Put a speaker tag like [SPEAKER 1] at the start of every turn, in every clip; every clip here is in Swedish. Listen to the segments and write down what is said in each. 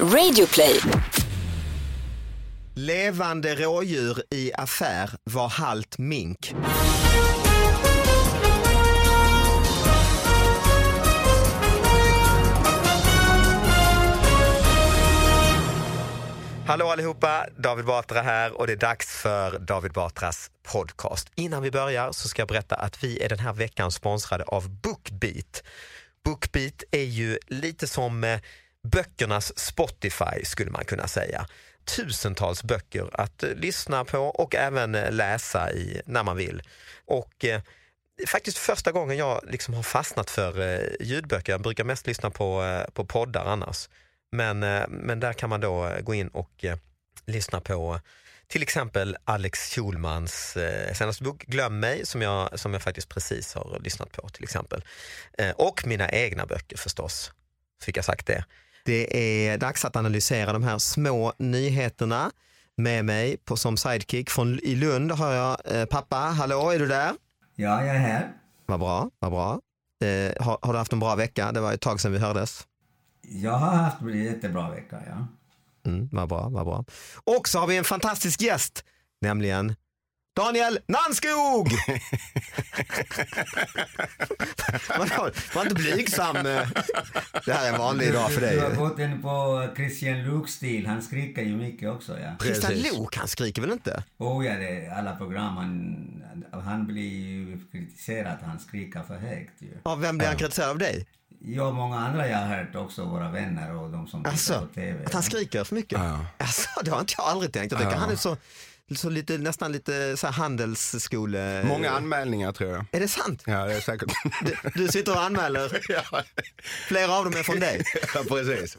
[SPEAKER 1] Radioplay.
[SPEAKER 2] Levande rådjur i affär var halt mink. Hallå allihopa, David Batra här och det är dags för David Batras podcast. Innan vi börjar så ska jag berätta att vi är den här veckan sponsrade av Bookbeat. Bookbeat är ju lite som eh, böckernas Spotify skulle man kunna säga. Tusentals böcker att eh, lyssna på och även eh, läsa i när man vill. Och eh, det är faktiskt första gången jag liksom har fastnat för eh, ljudböcker. Jag brukar mest lyssna på, eh, på poddar annars. Men, eh, men där kan man då eh, gå in och eh, lyssna på till exempel Alex Schulmans eh, senaste bok Glöm mig som jag, som jag faktiskt precis har lyssnat på till exempel. Eh, och mina egna böcker förstås, fick jag sagt det. Det är dags att analysera de här små nyheterna. Med mig på, som sidekick från, i Lund har jag eh, pappa. Hallå, är du där?
[SPEAKER 3] Ja, jag är här.
[SPEAKER 2] Vad bra, vad bra. Eh, har, har du haft en bra vecka? Det var ett tag sedan vi hördes.
[SPEAKER 3] Jag har haft en jättebra vecka, ja.
[SPEAKER 2] Mm, vad bra, vad bra. Och så har vi en fantastisk gäst, nämligen Daniel Nanskog! man, har, man är inte blygsam. eh. Det här är en vanlig dag för dig.
[SPEAKER 3] Du har gått in på Christian Luke-stil. Han skriker ju mycket också, ja.
[SPEAKER 2] Christian
[SPEAKER 4] Precis.
[SPEAKER 2] Lok, han skriker väl inte?
[SPEAKER 3] Oh ja, det är alla program. Han, han blir ju kritiserad att han skriker för högt ju.
[SPEAKER 2] Av vem blir han kritiserad av dig?
[SPEAKER 3] Jag och många andra jag har hört också, våra vänner och de som tittar
[SPEAKER 2] Alltså,
[SPEAKER 3] på TV.
[SPEAKER 2] att han skriker för mycket?
[SPEAKER 4] Ja.
[SPEAKER 2] Alltså, det har inte jag aldrig tänkt. Jag tänker, han är så, så lite, nästan lite så här handelsskole...
[SPEAKER 4] Många anmälningar tror jag.
[SPEAKER 2] Är det sant?
[SPEAKER 4] Ja, det är säkert.
[SPEAKER 2] Du, du sitter och anmäler.
[SPEAKER 4] ja,
[SPEAKER 2] Flera av dem är från dig.
[SPEAKER 4] precis.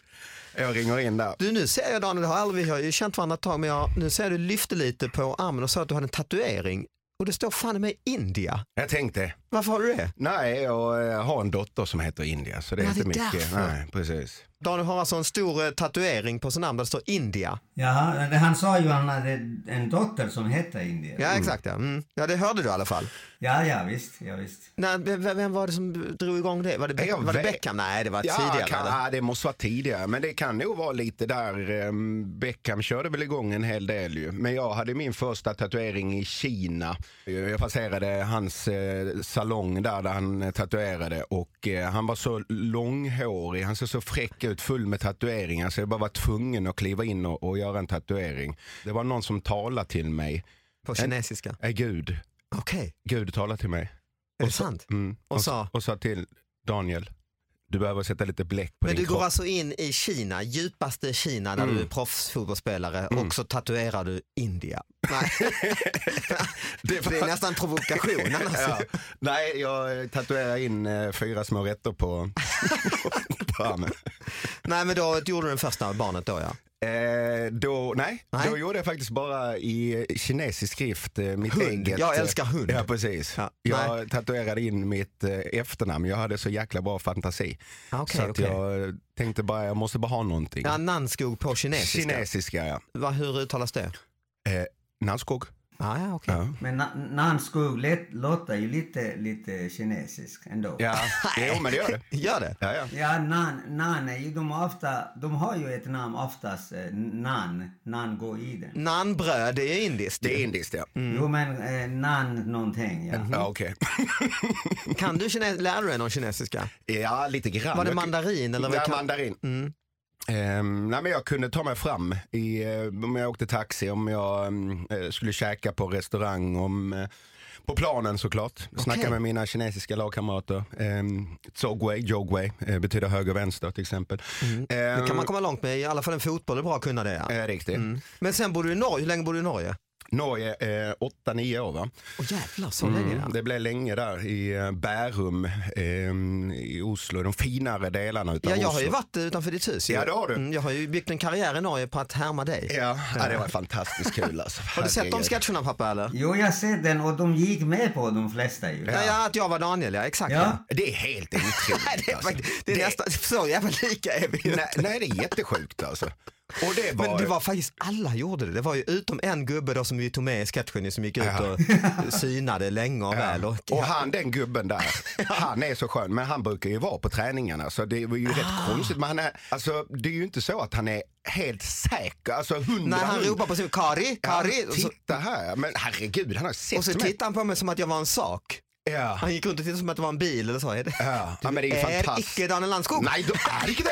[SPEAKER 4] Jag ringer in där.
[SPEAKER 2] Du, nu ser jag Daniel, det har aldrig, vi har ju känt varandra ett tag, men jag, nu ser jag du lyfte lite på armen och sa att du hade en tatuering. Och det står fan i mig India.
[SPEAKER 4] Jag tänkte,
[SPEAKER 2] Varför har du det?
[SPEAKER 4] nej, jag eh, har en dotter som heter India, så det är
[SPEAKER 2] Ja, det
[SPEAKER 4] inte
[SPEAKER 2] är
[SPEAKER 4] mycket.
[SPEAKER 2] därför.
[SPEAKER 4] Nej, precis.
[SPEAKER 2] Daniel har alltså en stor eh, tatuering på sin namn där det står India.
[SPEAKER 3] Jaha, men han sa ju att han hade en dotter som hette Indien.
[SPEAKER 2] Ja, exakt ja. Mm. Ja, det hörde du i alla fall.
[SPEAKER 3] Ja, ja, visst, ja, visst.
[SPEAKER 2] Nej, vem, vem var det som drog igång det? Var det, Be-
[SPEAKER 4] Jag
[SPEAKER 2] var det
[SPEAKER 4] vet.
[SPEAKER 2] Beckham? Nej, det var
[SPEAKER 4] Ja,
[SPEAKER 2] tidigare.
[SPEAKER 4] kan,
[SPEAKER 2] eller?
[SPEAKER 4] ja, det måste vara tidigare, men det kan nog vara lite där. eh, Beckham körde väl igång en hel del ju. Men jag hade min första tatuering i Kina. Jag passerade hans eh, salong där, där han eh, tatuerade och eh, han var så långhårig, han såg så fräck ut, full med tatueringar så jag bara var tvungen att kliva in och, och göra en tatuering. Det var någon som talade till mig,
[SPEAKER 2] På kinesiska.
[SPEAKER 4] är Gud,
[SPEAKER 2] Okej,
[SPEAKER 4] Gud talade till mig.
[SPEAKER 2] är det sant?
[SPEAKER 4] Mm.
[SPEAKER 2] Och sa?
[SPEAKER 4] och sa till Daniel, du behöver sätta lite bläck på
[SPEAKER 2] Men
[SPEAKER 4] din
[SPEAKER 2] du
[SPEAKER 4] kropp. Mm.
[SPEAKER 2] går alltså in i Kina, djupaste Kina där du är proffsfotbollsspelare och så tatuerar du India. Nej. det,
[SPEAKER 4] var-
[SPEAKER 2] är nästan provokation annars.
[SPEAKER 4] Ja. Nej, jag eh, tatuerar in eh, fyra små rätter på, på armen.
[SPEAKER 2] Nej men då gjorde du den första av barnet då ja.
[SPEAKER 4] Eh, då, nej,
[SPEAKER 2] Nej.
[SPEAKER 4] då gjorde jag faktiskt bara i kinesisk skrift eh, mitt
[SPEAKER 2] Hund.
[SPEAKER 4] eget.
[SPEAKER 2] Jag älskar hund.
[SPEAKER 4] Ja, precis.
[SPEAKER 2] Ja,
[SPEAKER 4] jag tatuerade in mitt eh, efternamn. Jag hade så jäkla bra fantasi.
[SPEAKER 2] Ah, okej,
[SPEAKER 4] så att
[SPEAKER 2] okej.
[SPEAKER 4] jag eh, tänkte bara, jag måste bara ha någonting.
[SPEAKER 2] Ja, Nanskog på kinesiska.
[SPEAKER 4] kinesiska, ja.
[SPEAKER 2] Va, hur uttalas det?
[SPEAKER 4] Eh, Nanskog.
[SPEAKER 2] Ah, ja, okej.
[SPEAKER 4] Ja.
[SPEAKER 3] Men Na- Nanskog lät- låter ju lite, lite kinesisk ändå.
[SPEAKER 4] Ja, jo men det gör det.
[SPEAKER 2] Gör det?
[SPEAKER 4] Ja, ja.
[SPEAKER 3] Ja, nan, nan är ju de ofta, de har ju ett namn oftast, eh, nan, nan går i den.
[SPEAKER 2] Nanbröd, det är indiskt.
[SPEAKER 4] Det är indiskt ja.
[SPEAKER 2] Mhm. Mm.
[SPEAKER 3] Jo men eh, nan någonting, ja.
[SPEAKER 4] ja Okej.
[SPEAKER 2] Kan du kines- lär du dig någon kinesiska?
[SPEAKER 4] Ja, lite grann.
[SPEAKER 2] Var det
[SPEAKER 4] Jag-
[SPEAKER 2] mandarin eller vad
[SPEAKER 4] Ja,
[SPEAKER 2] kan- Mm.
[SPEAKER 4] mandarin. Ehm, nej men jag kunde ta mig fram i, eh, om jag åkte taxi, om jag mm, eh, skulle käka på restaurang, om, eh, på planen såklart. Snacka med mina kinesiska lagkamrater. Um, Zogwei, Jogwei, eh, betyder höger och vänster till exempel.
[SPEAKER 2] Mm.
[SPEAKER 4] Ehm,
[SPEAKER 2] Det kan man Mm. komma långt med, i alla fall en fotboll är bra att kunna det. Ja.
[SPEAKER 4] eh, riktigt.
[SPEAKER 2] Men sen bor du i Norge, hur länge bor du i Norge?
[SPEAKER 4] Norge, 8-9 år va? Mm.
[SPEAKER 2] Åh jävlar, så länge ja.
[SPEAKER 4] Det blev länge där i eh, Bärum ehm, i Oslo, de finare delarna utav
[SPEAKER 2] Ja, jag har
[SPEAKER 4] Oslo.
[SPEAKER 2] ju varit utanför ditt hus. ju.
[SPEAKER 4] Ja, det har du.
[SPEAKER 2] Mm, jag har ju byggt en karriär i Norge på att härma dig.
[SPEAKER 4] Ja, ja, det var fantastiskt kul alltså.
[SPEAKER 2] Har du sett de
[SPEAKER 4] Herregud.
[SPEAKER 2] sketcherna pappa eller?
[SPEAKER 3] Jo, jag ser den och de gick med på de flesta ju.
[SPEAKER 2] Ja. ja, att jag var Daniel, ja exakt.
[SPEAKER 3] Ja.
[SPEAKER 2] Ja.
[SPEAKER 4] Det är helt otroligt.
[SPEAKER 2] Nej, det är,
[SPEAKER 4] alltså.
[SPEAKER 2] faktiskt- det är nästan, så jävla lika är vi ju.
[SPEAKER 4] nej, nej, det är jättesjukt alltså. Och det var-
[SPEAKER 2] Men det var faktiskt, alla gjorde det. Det var ju utom en gubbe då som vi tog med i sketchen som gick ut
[SPEAKER 4] Ja.
[SPEAKER 2] och synade länge och väl. Och,
[SPEAKER 4] Och han den gubben där, han är så skön. Men han brukar ju vara på träningarna så det var ju
[SPEAKER 2] Ah.
[SPEAKER 4] rätt konstigt. Men han är, alltså, det är ju inte så att han är helt säker. Alltså hundra
[SPEAKER 2] när han
[SPEAKER 4] hund-
[SPEAKER 2] ropar på sin Kari,
[SPEAKER 4] Ja,
[SPEAKER 2] Kari. Och så,
[SPEAKER 4] Titta här, men herregud han har sett
[SPEAKER 2] och så
[SPEAKER 4] mig.
[SPEAKER 2] tittade han på mig som att jag var en sak.
[SPEAKER 4] Ja.
[SPEAKER 2] Han gick runt och tittade som att det var en bil eller så. Är det?
[SPEAKER 4] Ja. ja, men det är ju
[SPEAKER 2] är
[SPEAKER 4] fantastiskt.
[SPEAKER 2] icke Daniel Landskog.
[SPEAKER 4] Nej, du är inte det.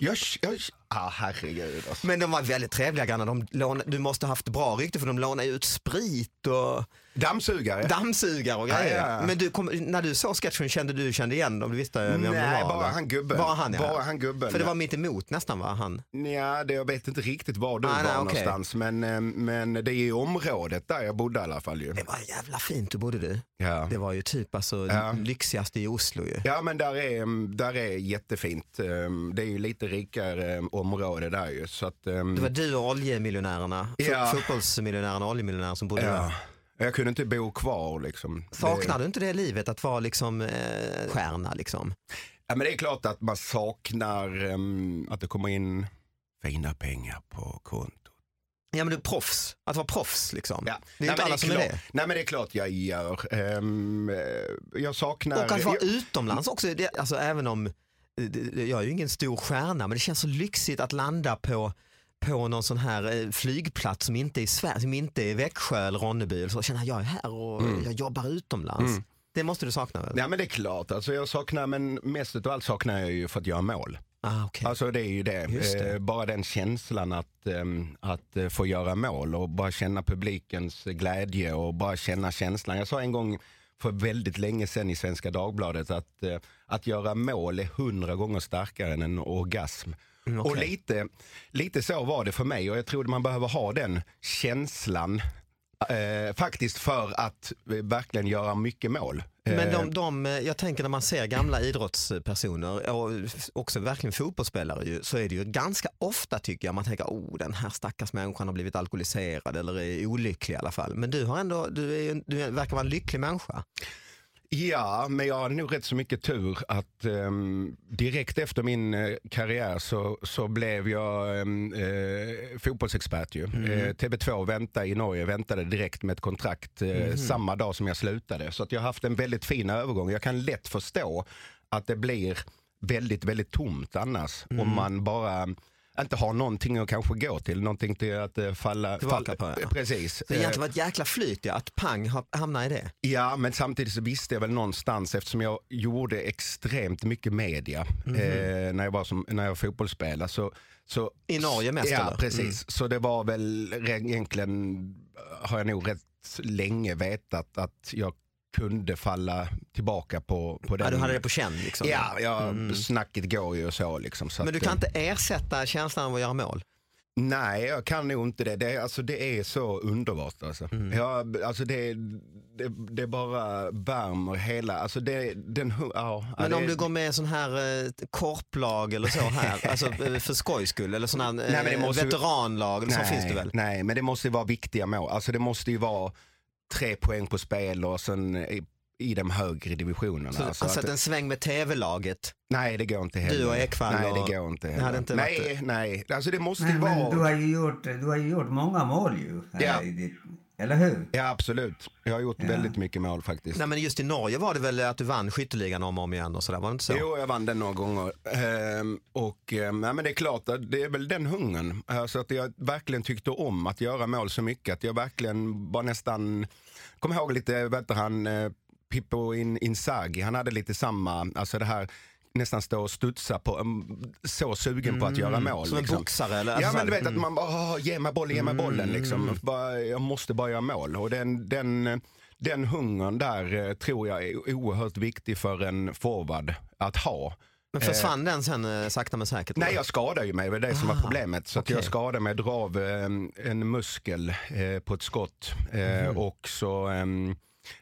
[SPEAKER 4] Jag, jag, ah, herregud alltså.
[SPEAKER 2] Men de var väldigt trevliga grannar. De låna, du måste ha haft bra rykte för de lånade ut sprit och
[SPEAKER 4] Dammsugare.
[SPEAKER 2] dammsugare och grejer.
[SPEAKER 4] Ja, ja, ja.
[SPEAKER 2] Men du kom, när du såg sketchen kände du kände igen dem? Du visste vem de
[SPEAKER 4] Nej,
[SPEAKER 2] var?
[SPEAKER 4] bara
[SPEAKER 2] va?
[SPEAKER 4] han gubben.
[SPEAKER 2] Bara han, ja.
[SPEAKER 4] Bara han gubben.
[SPEAKER 2] För det var mitt emot nästan va? Han.
[SPEAKER 4] Nja, det, jag vet inte riktigt var du
[SPEAKER 2] Ah,
[SPEAKER 4] var
[SPEAKER 2] nej, okej.
[SPEAKER 4] någonstans. Men, eh, men det är ju området där jag bodde i alla fall ju.
[SPEAKER 2] Det var jävla fint du bodde du.
[SPEAKER 4] Ja.
[SPEAKER 2] Det var ju typ alltså
[SPEAKER 4] Ja.
[SPEAKER 2] lyxigaste i Oslo ju.
[SPEAKER 4] Ja men där är, mm, där är jättefint. Ehm, Det är ju lite rikare mm, område där ju. Så att, ehm,
[SPEAKER 2] Det var du och oljemiljonärerna, Fo-
[SPEAKER 4] Ja.
[SPEAKER 2] fotbollsmiljonärerna och oljemiljonärerna som bodde
[SPEAKER 4] ja.
[SPEAKER 2] där.
[SPEAKER 4] Jag kunde inte bo kvar liksom.
[SPEAKER 2] Saknar
[SPEAKER 4] det,
[SPEAKER 2] du inte det livet att vara liksom eh, stjärna liksom?
[SPEAKER 4] ja, men det är klart att man saknar ehm, att det kommer in fina pengar på kontot.
[SPEAKER 2] Ja men du är proffs, att vara proffs liksom.
[SPEAKER 4] Ja.
[SPEAKER 2] Det är ju inte
[SPEAKER 4] men
[SPEAKER 2] alla som är
[SPEAKER 4] klart,
[SPEAKER 2] det.
[SPEAKER 4] Nej men det är klart jag gör. Ehm, eh, jag saknar...
[SPEAKER 2] Och att vara
[SPEAKER 4] jag,
[SPEAKER 2] utomlands också, det, alltså även om eh, det- jag är ju ingen stor stjärna men det känns så lyxigt att landa på på någon sån här eh, flygplats som inte är Sverige, som inte är Växjö eller Ronneby. eller Så känner jag, jag är här och jag jobbar utomlands. Det måste du sakna väl?
[SPEAKER 4] nej men det är klart. Alltså, jag saknar, men mest utav allt saknar jag ju för att göra mål.
[SPEAKER 2] Ah, okej.
[SPEAKER 4] Alltså det är ju det.
[SPEAKER 2] Just det.
[SPEAKER 4] Eh, Bara den känslan att, ehm, att eh, få göra mål och bara känna publikens glädje och bara känna känslan. Jag sa en gång för väldigt länge sedan i Svenska Dagbladet att, eh, att göra mål är hundra gånger starkare än en orgasm.
[SPEAKER 2] Mm,
[SPEAKER 4] Och
[SPEAKER 2] okej.
[SPEAKER 4] lite, lite så var det för mig och jag tror att man behöver ha den känslan eh, faktiskt för att eh, verkligen göra mycket mål.
[SPEAKER 2] Men
[SPEAKER 4] Eh,
[SPEAKER 2] de, de, eh, jag tänker när man ser gamla idrottspersoner och f- också verkligen fotbollsspelare ju, så är det ju ganska ofta tycker jag man tänker oh den här stackars människan har blivit alkoholiserad eller är olycklig i alla fall. Men du har ändå, du, är, ju- du verkar vara en lycklig människa.
[SPEAKER 4] Ja, men jag har nog rätt så mycket tur att ehm, direkt efter min eh, karriär så, så blev jag ehm, eh, fotbollsexpert ju.
[SPEAKER 2] Mm.
[SPEAKER 4] Eh, TV2 väntade i Norge väntade direkt med ett kontrakt eh,
[SPEAKER 2] Mhm.
[SPEAKER 4] samma dag som jag slutade. Så att jag har haft en väldigt fin övergång. Jag kan lätt förstå att det blir väldigt, väldigt tomt annars
[SPEAKER 2] Mm.
[SPEAKER 4] om man bara inte har någonting att kanske gå till, någonting till att eh, falla
[SPEAKER 2] Tillbaka
[SPEAKER 4] falla-
[SPEAKER 2] på, ja.
[SPEAKER 4] Precis.
[SPEAKER 2] Det har
[SPEAKER 4] Eh,
[SPEAKER 2] egentligen varit ett jäkla flyt ja, att pang ha- hamna i det.
[SPEAKER 4] Ja, men samtidigt så visste jag väl någonstans eftersom jag gjorde extremt mycket media
[SPEAKER 2] Mhm.
[SPEAKER 4] eh, när jag var som, när jag fotbollsspelare. Så, så,
[SPEAKER 2] I Norge mest,
[SPEAKER 4] Ja,
[SPEAKER 2] eller?
[SPEAKER 4] precis.
[SPEAKER 2] Mm.
[SPEAKER 4] Så det var väl re- egentligen, eh, har jag nog rätt länge vetat att jag kunde falla tillbaka på, på den.
[SPEAKER 2] Ja, du hade det på känn liksom.
[SPEAKER 4] Ja, ja snacket går ju och så liksom. Så
[SPEAKER 2] Men du
[SPEAKER 4] att,
[SPEAKER 2] kan
[SPEAKER 4] eh,
[SPEAKER 2] inte ersätta känslan av att göra mål?
[SPEAKER 4] Nej, jag kan nog inte det. Det, är- alltså, det är så underbart. Alltså.
[SPEAKER 2] Mm.
[SPEAKER 4] Ja, alltså det, det, det bara värmer hela... Alltså det, den, hu- ja, ja,
[SPEAKER 2] Men
[SPEAKER 4] det,
[SPEAKER 2] om du går med i sån här eh, korplag eller så här, alltså eh, för skojs skull, eller sån här eh,
[SPEAKER 4] Nej, men det måste ju-
[SPEAKER 2] veteranlag, eller så
[SPEAKER 4] nej,
[SPEAKER 2] finns det väl?
[SPEAKER 4] Nej, men det måste ju vara viktiga mål. Alltså det måste ju vara tre poäng på spel och sen i, i de högre divisionerna.
[SPEAKER 2] Så,
[SPEAKER 4] alltså
[SPEAKER 2] alltså
[SPEAKER 4] att-
[SPEAKER 2] att en sväng med tv-laget.
[SPEAKER 4] nej, det går inte heller.
[SPEAKER 2] och Ekvall
[SPEAKER 4] Nej,
[SPEAKER 2] och-
[SPEAKER 4] det går inte
[SPEAKER 2] Det hade
[SPEAKER 4] heller.
[SPEAKER 2] inte
[SPEAKER 4] nej,
[SPEAKER 2] varit-
[SPEAKER 4] nej. Alltså det måste ju
[SPEAKER 3] Men,
[SPEAKER 4] vara...
[SPEAKER 3] men du, har ju gjort, du har ju gjort många mål ju. här
[SPEAKER 4] Ja.
[SPEAKER 3] i ditt, eller hur?
[SPEAKER 4] Ja, absolut. Jag har gjort väldigt mycket mål faktiskt.
[SPEAKER 2] Nej men just i Norge var det väl att du vann skytteligan om och om igen och sådär, var det inte så?
[SPEAKER 4] Jo, jag vann den några gånger. Ehm, och ehm, nej, men det är klart, att det är väl den hungern. Alltså att jag verkligen tyckte om att göra mål så mycket. Att jag verkligen var nästan, kom ihåg lite, vad heter han, eh, Pippo in, Inzaghi, han hade lite samma, alltså det här nästan stå och studsa på, mm, så sugen på att göra mål.
[SPEAKER 2] Som en
[SPEAKER 4] liksom.
[SPEAKER 2] boxare eller?
[SPEAKER 4] Ja
[SPEAKER 2] alltså,
[SPEAKER 4] men du vet
[SPEAKER 2] mm.
[SPEAKER 4] att man bara, "Åh, ge mig bollen, ge mig bollen liksom. Bara, jag måste bara göra mål. Och den, den, den hungern där eh, tror jag är oerhört viktig för en forward att ha.
[SPEAKER 2] Men försvann den sen eh, sakta men säkert?
[SPEAKER 4] Nej, jag skadade ju mig, det var det som var
[SPEAKER 2] Ah,
[SPEAKER 4] problemet. Så att jag
[SPEAKER 2] okej.
[SPEAKER 4] skadade mig, jag drav eh, en muskel eh, på ett skott. Eh,
[SPEAKER 2] Mhm.
[SPEAKER 4] Och så, eh,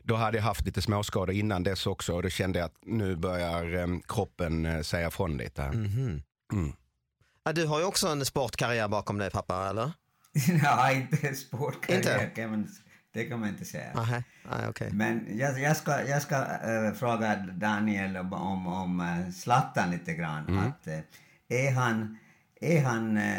[SPEAKER 4] då hade jag haft lite småskador innan dess också och då kände jag att nu börjar eh, kroppen eh, säga från lite.
[SPEAKER 2] Mhm.
[SPEAKER 4] Mm.
[SPEAKER 2] Ja, du har ju också en sportkarriär bakom dig pappa, eller?
[SPEAKER 3] Nej, inte sportkarriär
[SPEAKER 2] Inte?
[SPEAKER 3] kan man, det kan man inte säga.
[SPEAKER 2] Aha. Nej, okej.
[SPEAKER 3] Men jag, jag ska, jag ska eh, fråga
[SPEAKER 4] Mm.
[SPEAKER 3] Daniel om, om, om eh, Zlatan lite grann. Att, eh, är han, Är han eh,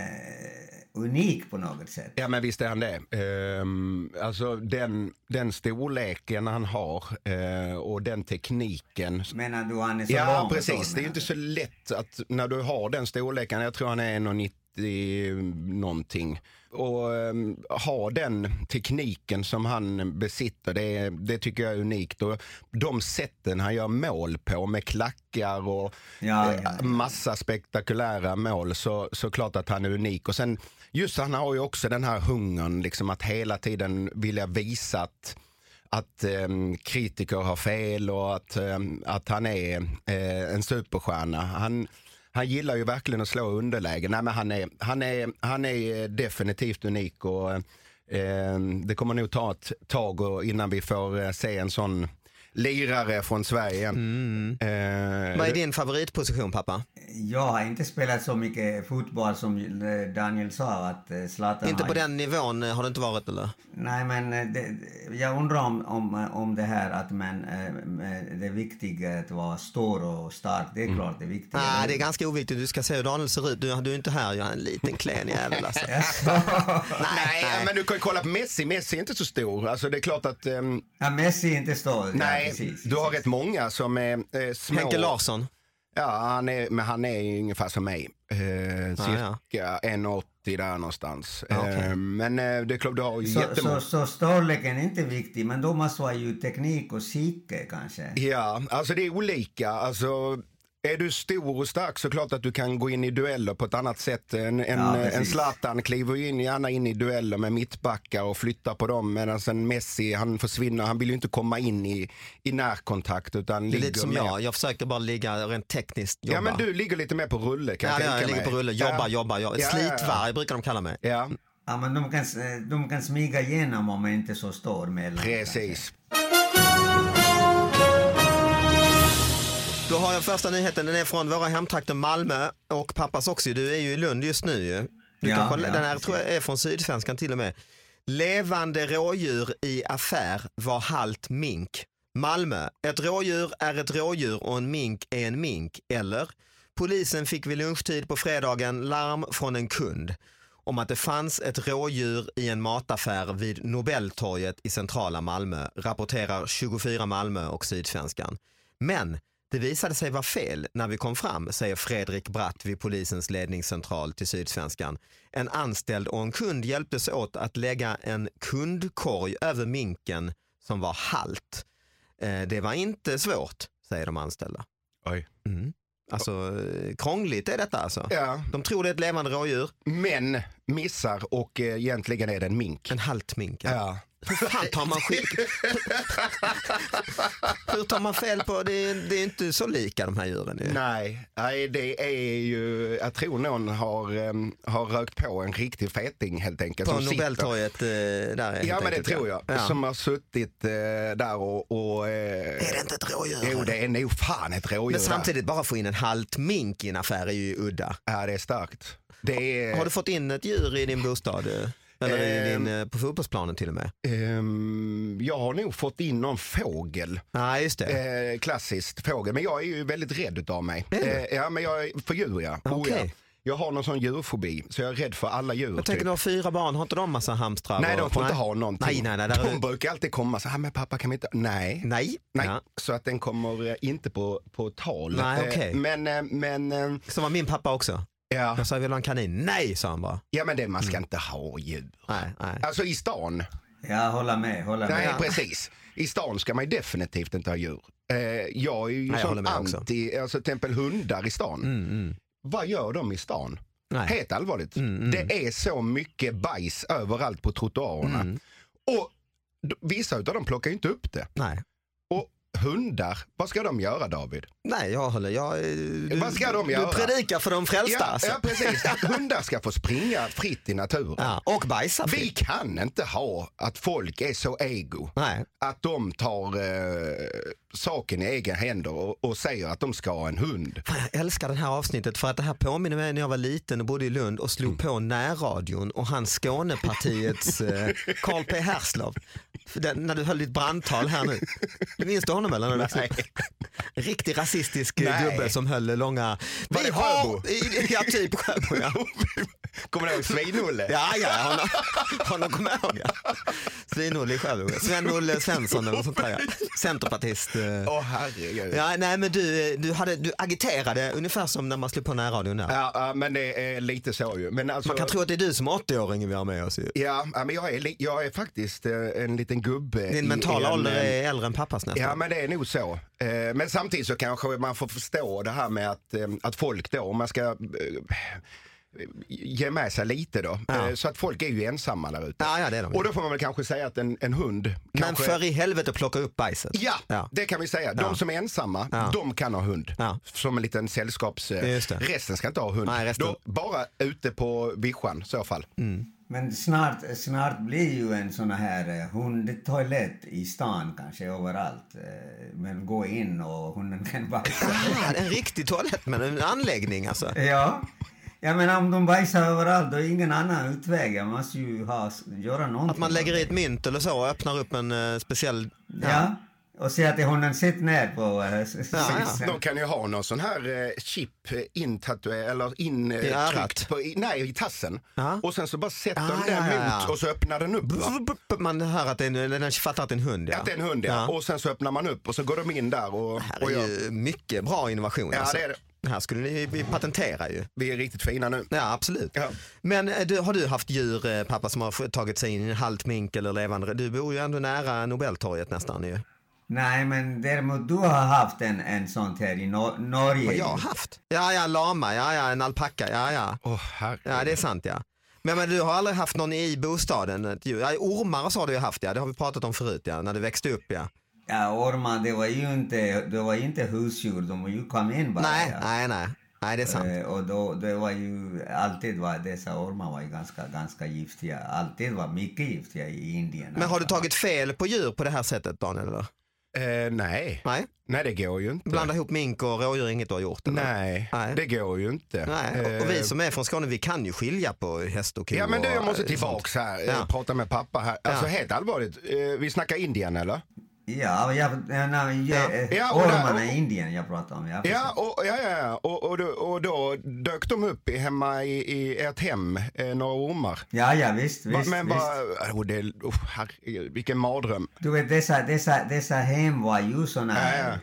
[SPEAKER 3] unik på något sätt?
[SPEAKER 4] Ja men visst är han det. Ehm, alltså den, den storleken han har eh, och den tekniken.
[SPEAKER 3] Menar du han är så
[SPEAKER 4] Ja
[SPEAKER 3] lång?
[SPEAKER 4] precis,
[SPEAKER 3] så,
[SPEAKER 4] det är ju inte så lätt att när du har den storleken, jag tror han är 1,90 någonting. Och ehm, ha den tekniken som han besitter, det, det tycker jag är unikt. Och de sätten han gör mål på med klackar och
[SPEAKER 3] Ja,
[SPEAKER 4] eh,
[SPEAKER 3] ja, ja.
[SPEAKER 4] massa spektakulära mål så, så klart att han är unik. Och sen just han har ju också den här hungern liksom att hela tiden vilja visa att, att ehm, kritiker har fel och att, ehm, att han är eh, en superstjärna. Han, han gillar ju verkligen att slå underläge. Nej, men han, är, han, är, han är definitivt unik och eh, det kommer nog ta ett tag och- innan vi får eh, se en sån lirare från Sverige igen.
[SPEAKER 3] Mm.
[SPEAKER 4] Eh,
[SPEAKER 2] Vad är din favoritposition pappa?
[SPEAKER 3] Jag har inte spelat så mycket fotboll som eh, Daniel sa att eh, Zlatan
[SPEAKER 2] Inte
[SPEAKER 3] har
[SPEAKER 2] på den nivån eh, har det inte varit eller?
[SPEAKER 3] Nej, men eh, det, jag undrar om, om, eh, om det här att man, eh, det är viktigt att vara stor och stark. Det är
[SPEAKER 4] Mm.
[SPEAKER 3] klart det är viktigt.
[SPEAKER 4] Ah,
[SPEAKER 2] Nej, det är ganska oviktigt. Du ska se hur Daniel ser ut. Du, du är inte här, jag är en liten klen jävel alltså.
[SPEAKER 4] Nej, men du kan ju kolla på Messi. Messi är inte så stor. Alltså det är klart att... ehm,
[SPEAKER 3] ja, Messi är inte stor. ja,
[SPEAKER 4] nej,
[SPEAKER 3] precis,
[SPEAKER 4] du har
[SPEAKER 3] precis.
[SPEAKER 4] rätt många som är eh, små.
[SPEAKER 2] Henke Larsson.
[SPEAKER 4] Ja, han är, men han är ju ungefär som mig. Eh, cirka 1,80 där någonstans. Eh, men eh, det är klart, du har ju
[SPEAKER 3] Så,
[SPEAKER 4] jättemånga.
[SPEAKER 3] så, så storleken är inte viktig, men då måste vara ju teknik och psyke kanske.
[SPEAKER 4] Ja, alltså det är olika. Alltså, är du stor och stark så klart att du kan gå in i dueller på ett annat sätt. En, en,
[SPEAKER 3] Ja, precis.
[SPEAKER 4] en Zlatan kliver ju in, gärna in i dueller med mittbackar och flyttar på dem medan en Messi han försvinner. Han vill ju inte komma in i, i närkontakt utan
[SPEAKER 2] Det är
[SPEAKER 4] ligger
[SPEAKER 2] lite som
[SPEAKER 4] mer.
[SPEAKER 2] jag. Jag försöker bara ligga rent tekniskt. Jobba.
[SPEAKER 4] Ja men du ligger lite mer på rulle kan
[SPEAKER 2] Ja,
[SPEAKER 4] jag
[SPEAKER 2] ja,
[SPEAKER 4] tänka
[SPEAKER 2] jag ligger
[SPEAKER 4] mig.
[SPEAKER 2] på rulle. Jobba,
[SPEAKER 4] ja.
[SPEAKER 2] jobba, jobba.
[SPEAKER 4] Ja, ja, ja.
[SPEAKER 2] Slitvarg brukar de kalla mig.
[SPEAKER 4] Ja,
[SPEAKER 3] Ja, men de kan, eh, de kan smyga igenom om man inte är så stor mellan.
[SPEAKER 4] precis.
[SPEAKER 2] Då har jag första nyheten, den är från våra hemtrakter Malmö och pappas också. Du är ju i Lund just nu ju. Du
[SPEAKER 3] Ja,
[SPEAKER 2] kanske,
[SPEAKER 3] ja,
[SPEAKER 2] den här
[SPEAKER 3] precis.
[SPEAKER 2] tror jag är från Sydsvenskan till och med. Levande rådjur i affär var halt mink. Malmö. Ett rådjur är ett rådjur och en mink är en mink. Eller? Polisen fick vid lunchtid på fredagen larm från en kund om att det fanns ett rådjur i en mataffär vid Nobeltorget i centrala Malmö, rapporterar 24 Malmö och Sydsvenskan. Men det visade sig vara fel när vi kom fram, säger Fredrik Bratt vid polisens ledningscentral till Sydsvenskan. En anställd och en kund hjälptes åt att lägga en kundkorg över minken som var halt. Eh, det var inte svårt, säger de anställda.
[SPEAKER 4] Oj.
[SPEAKER 2] Mm. Alltså, eh, krångligt är detta alltså.
[SPEAKER 4] Ja,
[SPEAKER 2] De tror det är ett levande rådjur,
[SPEAKER 4] men missar och eh, egentligen är det en mink.
[SPEAKER 2] en halt mink.
[SPEAKER 4] Ja.
[SPEAKER 2] Hur fan tar man skit? Hur tar man fel på, det är, det är inte så lika de här djuren. ju.
[SPEAKER 4] Nej, nej, det är ju, jag tror någon har, em, har rökt på en riktig feting helt enkelt.
[SPEAKER 2] På
[SPEAKER 4] som sitter-
[SPEAKER 2] Nobeltorget eh, där helt
[SPEAKER 4] Ja men det
[SPEAKER 2] enkelt,
[SPEAKER 4] tror jag.
[SPEAKER 2] Ja.
[SPEAKER 4] Som har suttit eh, där och... och eh,
[SPEAKER 2] Är det inte ett rådjur?
[SPEAKER 4] jo det är nog fan ett rådjur
[SPEAKER 2] men
[SPEAKER 4] där.
[SPEAKER 2] samtidigt, bara få in en halt mink i en affär är ju udda.
[SPEAKER 4] Ja det är starkt. Det är,
[SPEAKER 2] Har du fått in ett djur i din bostad? eh? Eller i
[SPEAKER 4] Eh. Ehm.
[SPEAKER 2] din, eh, på fotbollsplanen till och med?
[SPEAKER 4] ehm, jag har nog fått in någon fågel.
[SPEAKER 2] Nej, just det.
[SPEAKER 4] Eh, klassiskt fågel. Men jag är ju väldigt rädd utav mig.
[SPEAKER 2] Är du?
[SPEAKER 4] Eh, ja men jag är för djur ja. Oh, ja.
[SPEAKER 2] Okej.
[SPEAKER 4] Jag har någon sån djurfobi så jag är rädd för alla djur.
[SPEAKER 2] Jag tänker,
[SPEAKER 4] typ.
[SPEAKER 2] du har fyra barn, har inte de massa hamstrar?
[SPEAKER 4] Nej,
[SPEAKER 2] och-
[SPEAKER 4] de får inte ha någonting.
[SPEAKER 2] Alltså, Nej, nej, nej. Där
[SPEAKER 4] de
[SPEAKER 2] är...
[SPEAKER 4] brukar alltid komma så här, men pappa kan vi inte? Nej.
[SPEAKER 2] nej.
[SPEAKER 4] Nej.
[SPEAKER 2] Ja.
[SPEAKER 4] Så att den kommer eh, inte på, på tal.
[SPEAKER 2] Nej,
[SPEAKER 4] Eh,
[SPEAKER 2] okej.
[SPEAKER 4] Men, eh, men, eh,
[SPEAKER 2] Så var min pappa också.
[SPEAKER 4] ja.
[SPEAKER 2] Jag sa, jag vill ha en kanin. Nej, sa han bara.
[SPEAKER 4] ja men det, man
[SPEAKER 2] Mm.
[SPEAKER 4] ska inte ha djur.
[SPEAKER 2] Nej, nej.
[SPEAKER 4] Alltså i stan.
[SPEAKER 3] Jag håller med, håller
[SPEAKER 4] Nej,
[SPEAKER 3] med.
[SPEAKER 4] precis. I stan ska man ju definitivt inte ha djur. Eh, jag är ju
[SPEAKER 2] jag håller
[SPEAKER 4] sån
[SPEAKER 2] med också.
[SPEAKER 4] anti, alltså till exempel hundar i stan.
[SPEAKER 2] Mm, mm.
[SPEAKER 4] Vad gör de i stan?
[SPEAKER 2] nej.
[SPEAKER 4] Helt allvarligt.
[SPEAKER 2] Mm, mm.
[SPEAKER 4] Det är så mycket bajs överallt på trottoarerna.
[SPEAKER 2] Mm,
[SPEAKER 4] Och d- vissa utav dem plockar ju inte upp det.
[SPEAKER 2] nej.
[SPEAKER 4] Och hundar, vad ska de göra David?
[SPEAKER 2] Nej, jag håller. Jag, eh, du,
[SPEAKER 4] Vad ska de göra?
[SPEAKER 2] Du predikar för de frälsta.
[SPEAKER 4] Ja,
[SPEAKER 2] alltså.
[SPEAKER 4] ja precis, Att hundar ska få springa fritt i naturen.
[SPEAKER 2] Ja, och bajsa
[SPEAKER 4] Vi
[SPEAKER 2] fritt.
[SPEAKER 4] kan inte ha att folk är så ego
[SPEAKER 2] Nej.
[SPEAKER 4] att de tar eh, saken i egen händer och, och säger att de ska ha en hund.
[SPEAKER 2] Fan, jag älskar det här avsnittet för att det här påminner mig när jag var liten och bodde i Lund och
[SPEAKER 4] Mm.
[SPEAKER 2] slog på närradion och han Skånepartiets eh, Carl P Herslov. Den, när du höll ditt brandtal här nu. Minns du honom eller? När du växte upp? riktig rasistisk eh,
[SPEAKER 4] Nej.
[SPEAKER 2] gubbe som höll långa...
[SPEAKER 4] Var det Sjöbo?
[SPEAKER 2] I- Ja, typ Sjöbo. Ja.
[SPEAKER 4] Kommer du ihåg Sveinulle?
[SPEAKER 2] Ja, ja, honom, honom kommer jag ihåg. Ja. Svin-Olle i Sjöbo. Sven-Olle Svensson eller något sånt där. Ja. Centerpartist. eh.
[SPEAKER 4] Åh herregud.
[SPEAKER 2] Ja, nej, men du, eh, du, hade, du agiterade ungefär som när man slog på närradion där.
[SPEAKER 4] Ja, ja, men det är lite så ju. Men alltså,
[SPEAKER 2] Man kan tro att det är du som är 80-åring vi har med oss. ju.
[SPEAKER 4] ja, ja, men jag är, li- jag är faktiskt eh, en liten gubbe.
[SPEAKER 2] Din
[SPEAKER 4] i
[SPEAKER 2] mentala
[SPEAKER 4] en,
[SPEAKER 2] ålder
[SPEAKER 4] eh,
[SPEAKER 2] är äldre än pappas nästan.
[SPEAKER 4] Ja men det är nog så. Eh, Men samtidigt så kanske man får förstå det här med att, eh, att folk då, om man ska eh, ge med sig lite då.
[SPEAKER 2] Ja.
[SPEAKER 4] Eh, Så att folk är ju ensamma där ute.
[SPEAKER 2] Ja, ja, det är de.
[SPEAKER 4] Och då får man väl kanske säga att en, en hund
[SPEAKER 2] Men
[SPEAKER 4] kanske...
[SPEAKER 2] för i helvete plocka upp bajset.
[SPEAKER 4] Ja,
[SPEAKER 2] Ja.
[SPEAKER 4] det kan vi säga. De
[SPEAKER 2] Ja.
[SPEAKER 4] som är ensamma,
[SPEAKER 2] Ja.
[SPEAKER 4] de kan ha hund.
[SPEAKER 2] Ja.
[SPEAKER 4] Som en liten sällskaps... eh,
[SPEAKER 2] Just det.
[SPEAKER 4] Resten ska inte ha hund.
[SPEAKER 2] Nej, resten-
[SPEAKER 4] De, bara ute på vischan i så fall.
[SPEAKER 3] Men snart, snart blir ju en sån här eh, hundtoalett i stan kanske överallt. Eh, Men gå in och hunden kan bajsa.
[SPEAKER 2] Ah, en riktig toalett men en anläggning alltså.
[SPEAKER 3] ja. Jag menar om de bajsar överallt då är ingen annan utväg. Jag måste ju ha, göra någonting.
[SPEAKER 2] Att man lägger i ett mynt eller så och öppnar upp en eh, speciell...
[SPEAKER 3] Ja. Och säga till hunden sitt ner på eh, s-
[SPEAKER 2] ja.
[SPEAKER 3] sitsen.
[SPEAKER 4] De kan ju ha någon sån här eh, chip eh, intatuerad, eller
[SPEAKER 2] I örat.
[SPEAKER 4] intryckt på, i, nej i tassen.
[SPEAKER 2] Ja.
[SPEAKER 4] Och sen så bara sätter
[SPEAKER 2] Ah,
[SPEAKER 4] de den
[SPEAKER 2] ja, ja, ja.
[SPEAKER 4] mot och så öppnar den upp. Va?
[SPEAKER 2] Man hör att det är en, eller den fattar att det är en hund. Ja.
[SPEAKER 4] Att det är en hund ja. Och sen så öppnar man upp och så går de in där och,
[SPEAKER 2] Här
[SPEAKER 4] och
[SPEAKER 2] är
[SPEAKER 4] gör,
[SPEAKER 2] ju mycket bra innovation.
[SPEAKER 4] Ja,
[SPEAKER 2] alltså.
[SPEAKER 4] det är det.
[SPEAKER 2] här skulle ni vi patentera ju.
[SPEAKER 4] vi är riktigt fina nu.
[SPEAKER 2] Ja, absolut.
[SPEAKER 4] Ja.
[SPEAKER 2] Men eh, du, har du haft djur, eh, pappa, som har f- tagit sig in i en halt mink eller levande? Du bor ju ändå nära Nobeltorget nästan ju.
[SPEAKER 3] Nej men däremot du har haft en, en sån här i Nor- Norge.
[SPEAKER 2] Har jag haft? Ja, ja, en lama, ja, ja, en alpacka, ja, ja.
[SPEAKER 4] Åh herre.
[SPEAKER 2] Ja, det är sant ja. Men, men du har aldrig haft någon i bostaden? Ett djur? Ja, ormar och så har du ju haft ja, det har vi pratat om förut ja, när du växte upp ja.
[SPEAKER 3] Ja, ormar, det var ju inte, det var ju inte husdjur, de var ju kom in bara.
[SPEAKER 2] nej,
[SPEAKER 3] ja.
[SPEAKER 2] nej, nej, nej, det är sant.
[SPEAKER 3] Eh, Och då, det var ju alltid var dessa ormar var ju ganska, ganska giftiga. Alltid var mycket giftiga i Indien.
[SPEAKER 2] Men har du
[SPEAKER 3] alltså.
[SPEAKER 2] tagit fel på djur på det här sättet Daniel? Eller?
[SPEAKER 4] Eh, nej.
[SPEAKER 2] Nej,
[SPEAKER 4] nej, det går ju inte.
[SPEAKER 2] blanda ihop mink och rådjur inget du har gjort? Eller?
[SPEAKER 4] Nej,
[SPEAKER 2] Nej.
[SPEAKER 4] det går ju inte.
[SPEAKER 2] Nej, och, och vi
[SPEAKER 4] Eh,
[SPEAKER 2] som är från Skåne vi kan ju skilja på häst och ko.
[SPEAKER 4] Ja men du, jag
[SPEAKER 2] och,
[SPEAKER 4] måste
[SPEAKER 2] eh,
[SPEAKER 4] tillbaks här. Ja.
[SPEAKER 2] Ja.
[SPEAKER 4] Prata med pappa här. Alltså
[SPEAKER 2] Ja.
[SPEAKER 4] helt allvarligt, eh, vi snackar Indien eller?
[SPEAKER 3] Ja, jag, nej, nej, eh,
[SPEAKER 4] Ja. Ja, och där-
[SPEAKER 3] ormarna i Indien jag pratar om. Jag
[SPEAKER 4] Ja,
[SPEAKER 2] Liksom.
[SPEAKER 4] och, ja, ja, ja. Och, och, då, och då dök de upp i, hemma i, i ert hem, eh, några ormar.
[SPEAKER 3] ja, ja, visst,
[SPEAKER 4] Va-
[SPEAKER 3] visst.
[SPEAKER 4] men
[SPEAKER 3] visst.
[SPEAKER 4] bara, oh, det, oh, herregud, vilken mardröm.
[SPEAKER 3] Du vet, dessa, dessa, dessa hem var ju såna
[SPEAKER 4] Ja,
[SPEAKER 3] här
[SPEAKER 4] ja.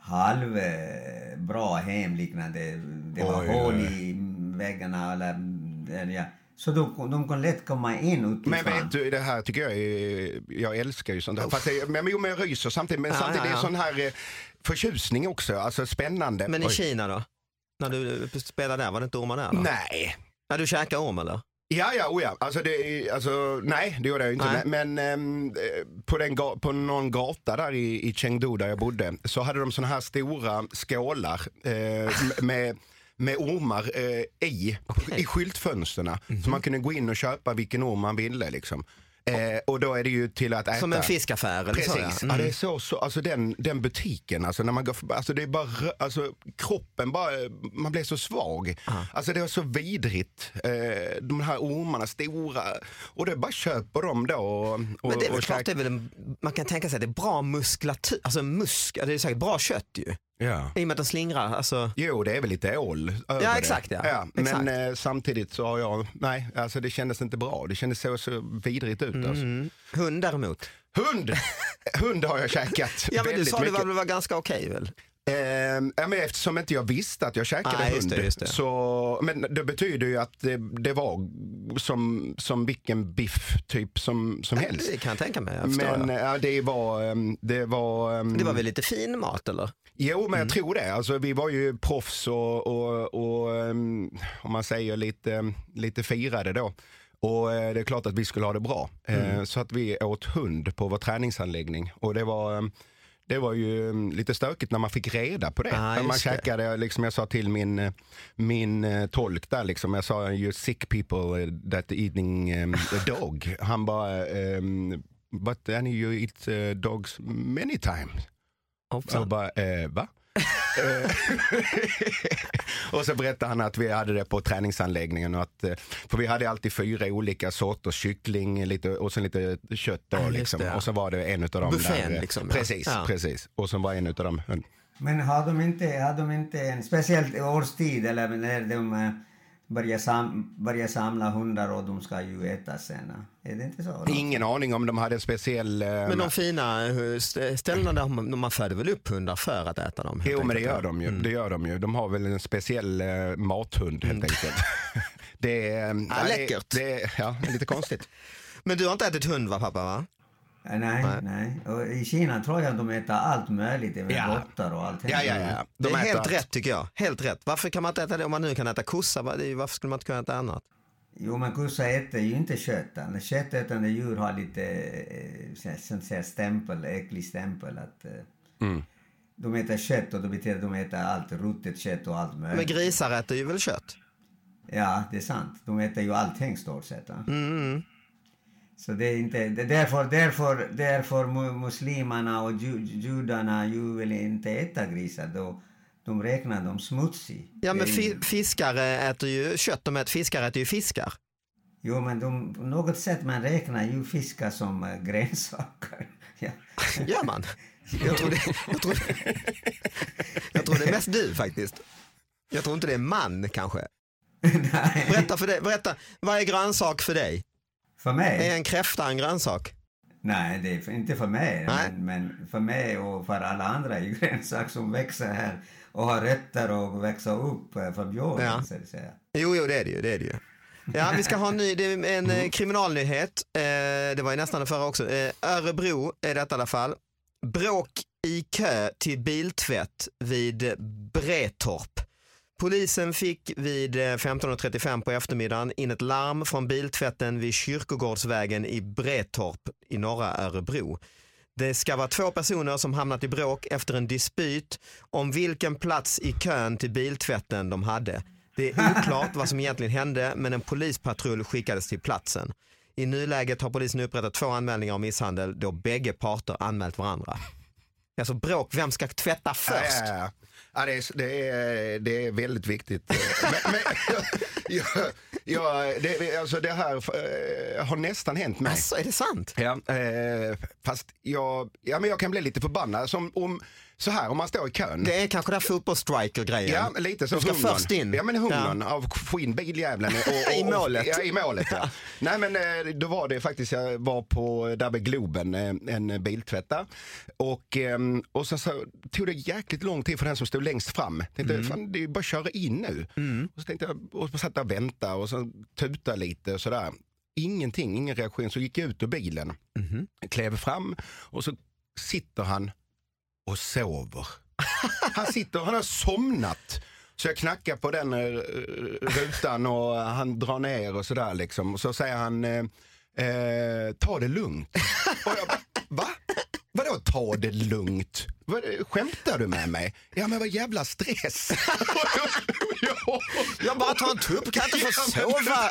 [SPEAKER 3] halv eh, bra hem liknande. Det var
[SPEAKER 4] Oj,
[SPEAKER 3] hål
[SPEAKER 4] oj.
[SPEAKER 3] i väggarna eller, eller ja. Så de, de kan lätt komma in utifrån.
[SPEAKER 4] Men vet du, det här tycker jag är, jag älskar ju sånt här. Fast det, men, jo, men jag ryser samtidigt, men
[SPEAKER 2] Ja,
[SPEAKER 4] samtidigt
[SPEAKER 2] ja,
[SPEAKER 4] är
[SPEAKER 2] ja.
[SPEAKER 4] det sån här eh, förtjusning också, alltså spännande.
[SPEAKER 2] Men i
[SPEAKER 4] Oj.
[SPEAKER 2] Kina då? När du eh, spelade där, var det inte ormar där? Då?
[SPEAKER 4] Nej.
[SPEAKER 2] Ja, du käkade orm eller?
[SPEAKER 4] Ja, ja, oh ja. Alltså, det, är- alltså, nej, det gjorde jag ju inte.
[SPEAKER 2] Nej.
[SPEAKER 4] Men ehm, eh, på, den ga- på någon gata där i, i Chengdu där jag bodde så hade de såna här stora skålar eh, m- med, med ormar eh, i,
[SPEAKER 2] Okej. Mhm.
[SPEAKER 4] i skyltfönstren. Så man kunde gå in och köpa vilken orm man ville. Liksom. Eh, och då är det ju till att äta.
[SPEAKER 2] Som en fiskaffär eller
[SPEAKER 4] Precis.
[SPEAKER 2] så
[SPEAKER 4] ja.
[SPEAKER 2] ja. Mm.
[SPEAKER 4] det är så, så, alltså den, den butiken, alltså när man går förbi, alltså det är bara, rö- alltså kroppen bara, man blir så svag. Alltså det är så vidrigt. Eh, de här ormarna, stora, och det bara köper de då. Och,
[SPEAKER 2] Men det är
[SPEAKER 4] och,
[SPEAKER 2] väl
[SPEAKER 4] och
[SPEAKER 2] klart, det är väl en, man kan tänka sig att det är bra muskulatur, alltså musk, det är säkert bra kött ju.
[SPEAKER 4] Ja.
[SPEAKER 2] I och med att den slingrar, alltså.
[SPEAKER 4] Jo, det är väl lite ål över det.
[SPEAKER 2] exakt, ja.
[SPEAKER 4] Men
[SPEAKER 2] Exakt.
[SPEAKER 4] Eh, samtidigt så har jag, nej, alltså det kändes inte bra. Det kändes så, så vidrigt ut. Alltså.
[SPEAKER 2] Mm. Hund däremot.
[SPEAKER 4] Hund! Hund har jag käkat
[SPEAKER 2] Ja men du
[SPEAKER 4] väldigt
[SPEAKER 2] sa det
[SPEAKER 4] mycket.
[SPEAKER 2] var, det var ganska okej väl?
[SPEAKER 4] Ehm, ja, men eftersom inte jag visste att jag käkade
[SPEAKER 2] Nej,
[SPEAKER 4] hund.
[SPEAKER 2] just det, just det.
[SPEAKER 4] Så, men det betyder ju att det, det var som, som vilken biff typ som, som helst.
[SPEAKER 2] Det kan jag tänka mig, jag förstår
[SPEAKER 4] Men
[SPEAKER 2] jag.
[SPEAKER 4] ja, det var... ehm, Det var, ehm,
[SPEAKER 2] Det var väl lite fin mat eller?
[SPEAKER 4] Jo, men
[SPEAKER 2] Mm.
[SPEAKER 4] jag tror det. Alltså, vi var ju proffs och, och, och ehm, om man säger lite, lite firade då. Och eh, det är klart att vi skulle ha det bra. Eh,
[SPEAKER 2] Mm.
[SPEAKER 4] Så att vi åt hund på vår träningsanläggning. Och det var, ehm, det var ju ehm, lite stökigt när man fick reda på det.
[SPEAKER 2] Ah,
[SPEAKER 4] när man
[SPEAKER 2] just det.
[SPEAKER 4] käkade, liksom, jag sa till min, eh, min eh, tolk där, liksom, jag sa you sick people that eating ehm, a dog. Han bara, ehm, but then you eat eh, dogs many times. Så jag
[SPEAKER 2] Hoppsan.
[SPEAKER 4] bara, eh, va? Eh, och så berättade han att vi hade det på träningsanläggningen. Och att, eh, för vi hade alltid fyra olika sorters kyckling lite, och sen lite kött. Då,
[SPEAKER 2] Ja, just
[SPEAKER 4] liksom.
[SPEAKER 2] det, ja.
[SPEAKER 4] Och så var det en av dem
[SPEAKER 2] Buffén,
[SPEAKER 4] där. eh,
[SPEAKER 2] liksom, ja.
[SPEAKER 4] precis,
[SPEAKER 2] Ja.
[SPEAKER 4] precis. Och sen var en av dem eh, hund.
[SPEAKER 3] Men har de inte, har de inte en speciell årstid eller när de eh, börjar, sam, börjar samla hundar och de ska ju äta sen? eh? Är det inte så?
[SPEAKER 4] Ingen aning om de hade en speciell... eh,
[SPEAKER 2] Men de fina eh, st- ställena där man, man föder väl upp hundar för att äta dem? helt
[SPEAKER 4] Jo, men det
[SPEAKER 2] enkelt,
[SPEAKER 4] gör de ju.
[SPEAKER 2] Mm.
[SPEAKER 4] Det gör de ju. De har väl en speciell eh, mathund helt enkelt. det är... eh,
[SPEAKER 2] Ah,
[SPEAKER 4] det-
[SPEAKER 2] Mm. läckert.
[SPEAKER 4] Det, ja, lite konstigt.
[SPEAKER 2] Men du har inte ätit hund va pappa? Va?
[SPEAKER 3] Eh, Nej, nej. Och I Kina tror jag de äter allt möjligt, även
[SPEAKER 4] Ja.
[SPEAKER 3] råttor och allt.
[SPEAKER 4] Ja, ja, ja.
[SPEAKER 2] Mm. Det är helt
[SPEAKER 4] allt.
[SPEAKER 2] rätt tycker jag. Helt rätt. Varför kan man inte äta det om man nu kan äta kossa? va? Det är ju- Varför skulle man inte kunna äta annat?
[SPEAKER 3] Jo, men kossa äter ju inte kött. Alla Köttätande djur har lite eh, så här- så att säga, stämpel, äcklig stämpel. Att, eh, De äter kött och det betyder att de äter allt ruttet kött och allt
[SPEAKER 2] Men
[SPEAKER 3] möjligt.
[SPEAKER 2] grisar äter ju väl kött?
[SPEAKER 3] Ja, det är sant. De äter ju allting stort sett. va?
[SPEAKER 2] Mm, mm.
[SPEAKER 3] Så det är inte, det är därför, därför, därför mu- muslimerna och ju, judarna ju vill inte äta grisar. Då, de räknar dem smutsig.
[SPEAKER 2] Ja men
[SPEAKER 3] Det är ju-
[SPEAKER 2] fi- fiskare äter ju kött, de äter, fiskar äter ju fiskar.
[SPEAKER 3] Jo, men de, på något sätt man räknar ju fiskar som eh, grönsaker. ja.
[SPEAKER 2] Gör man? Jag tror, det, jag, tror det, jag tror det är mest du faktiskt. Jag tror inte det är man kanske.
[SPEAKER 3] Nej.
[SPEAKER 2] Berätta för dig, berätta, vad är grönsak för dig?
[SPEAKER 3] För mig?
[SPEAKER 2] Är en kräfta en grönsak?
[SPEAKER 3] Nej, det är för- inte för mig.
[SPEAKER 2] Nej.
[SPEAKER 3] Men, men för mig och för alla andra är ju grönsaker som växer här och har rötter och växer upp eh, från jorden.
[SPEAKER 2] Ja.
[SPEAKER 3] Så att säga.
[SPEAKER 2] Jo, jo det är det ju. Det är det ju. Ja, vi ska ha en, ny, det är en eh, kriminalnyhet. Eh, det var ju nästan den förra också. Eh, Örebro är detta i alla fall. Bråk i kö till biltvätt vid Bretorp. Polisen fick vid eh, 15.35 på eftermiddagen in ett larm från biltvätten vid Kyrkogårdsvägen i Bretorp i norra Örebro. Det ska vara två personer som hamnat i bråk efter en dispyt om vilken plats i kön till biltvätten de hade. Det är oklart vad som egentligen hände men en polispatrull skickades till platsen. I nuläget har polisen upprättat två anmälningar om misshandel då bägge parter anmält varandra. Alltså bråk, vem ska tvätta
[SPEAKER 4] Ja,
[SPEAKER 2] först?
[SPEAKER 4] ja, ja. Ja, det, är, det, är, det är väldigt viktigt. men, men, jag, jag, det, alltså det här eh, har nästan hänt mig.
[SPEAKER 2] Alltså är det sant?
[SPEAKER 4] Ja, eh, fast jag, ja, men jag kan bli lite förbannad. Som om, så här, om man står i kön.
[SPEAKER 2] Det är kanske den här fotbollsstriker-grejen.
[SPEAKER 4] Ja, lite så.
[SPEAKER 2] Du ska
[SPEAKER 4] hungern.
[SPEAKER 2] först in.
[SPEAKER 4] Ja, men hungern av att få in biljävlen. och- och-
[SPEAKER 2] I
[SPEAKER 4] och-
[SPEAKER 2] målet.
[SPEAKER 4] Ja, i målet ja. Nej, men eh, då var det faktiskt, jag var på där vid Globen, eh, en biltvätt där. Och, eh, och sen så tog det jäkligt lång tid för den som stod längst fram. Tänkte,
[SPEAKER 2] Mm.
[SPEAKER 4] fan, det är ju bara att köra in nu. Och så tänkte jag, och så satt jag och väntade och sen tuta lite och sådär. Ingenting, ingen reaktion. Så gick jag ut ur bilen,
[SPEAKER 2] Mhm.
[SPEAKER 4] klev fram och så sitter han och sover. Han sitter, han har somnat. Så jag knackar på den eh, rutan och han drar ner och sådär liksom. Och så säger han, eh, eh, ta det lugnt. Och jag, bara, va? Vadå ta det lugnt? Vad- Skämtar du med mig? Ja men vad jävla stress.
[SPEAKER 2] Jag bara tar en tupp, kan inte få sova.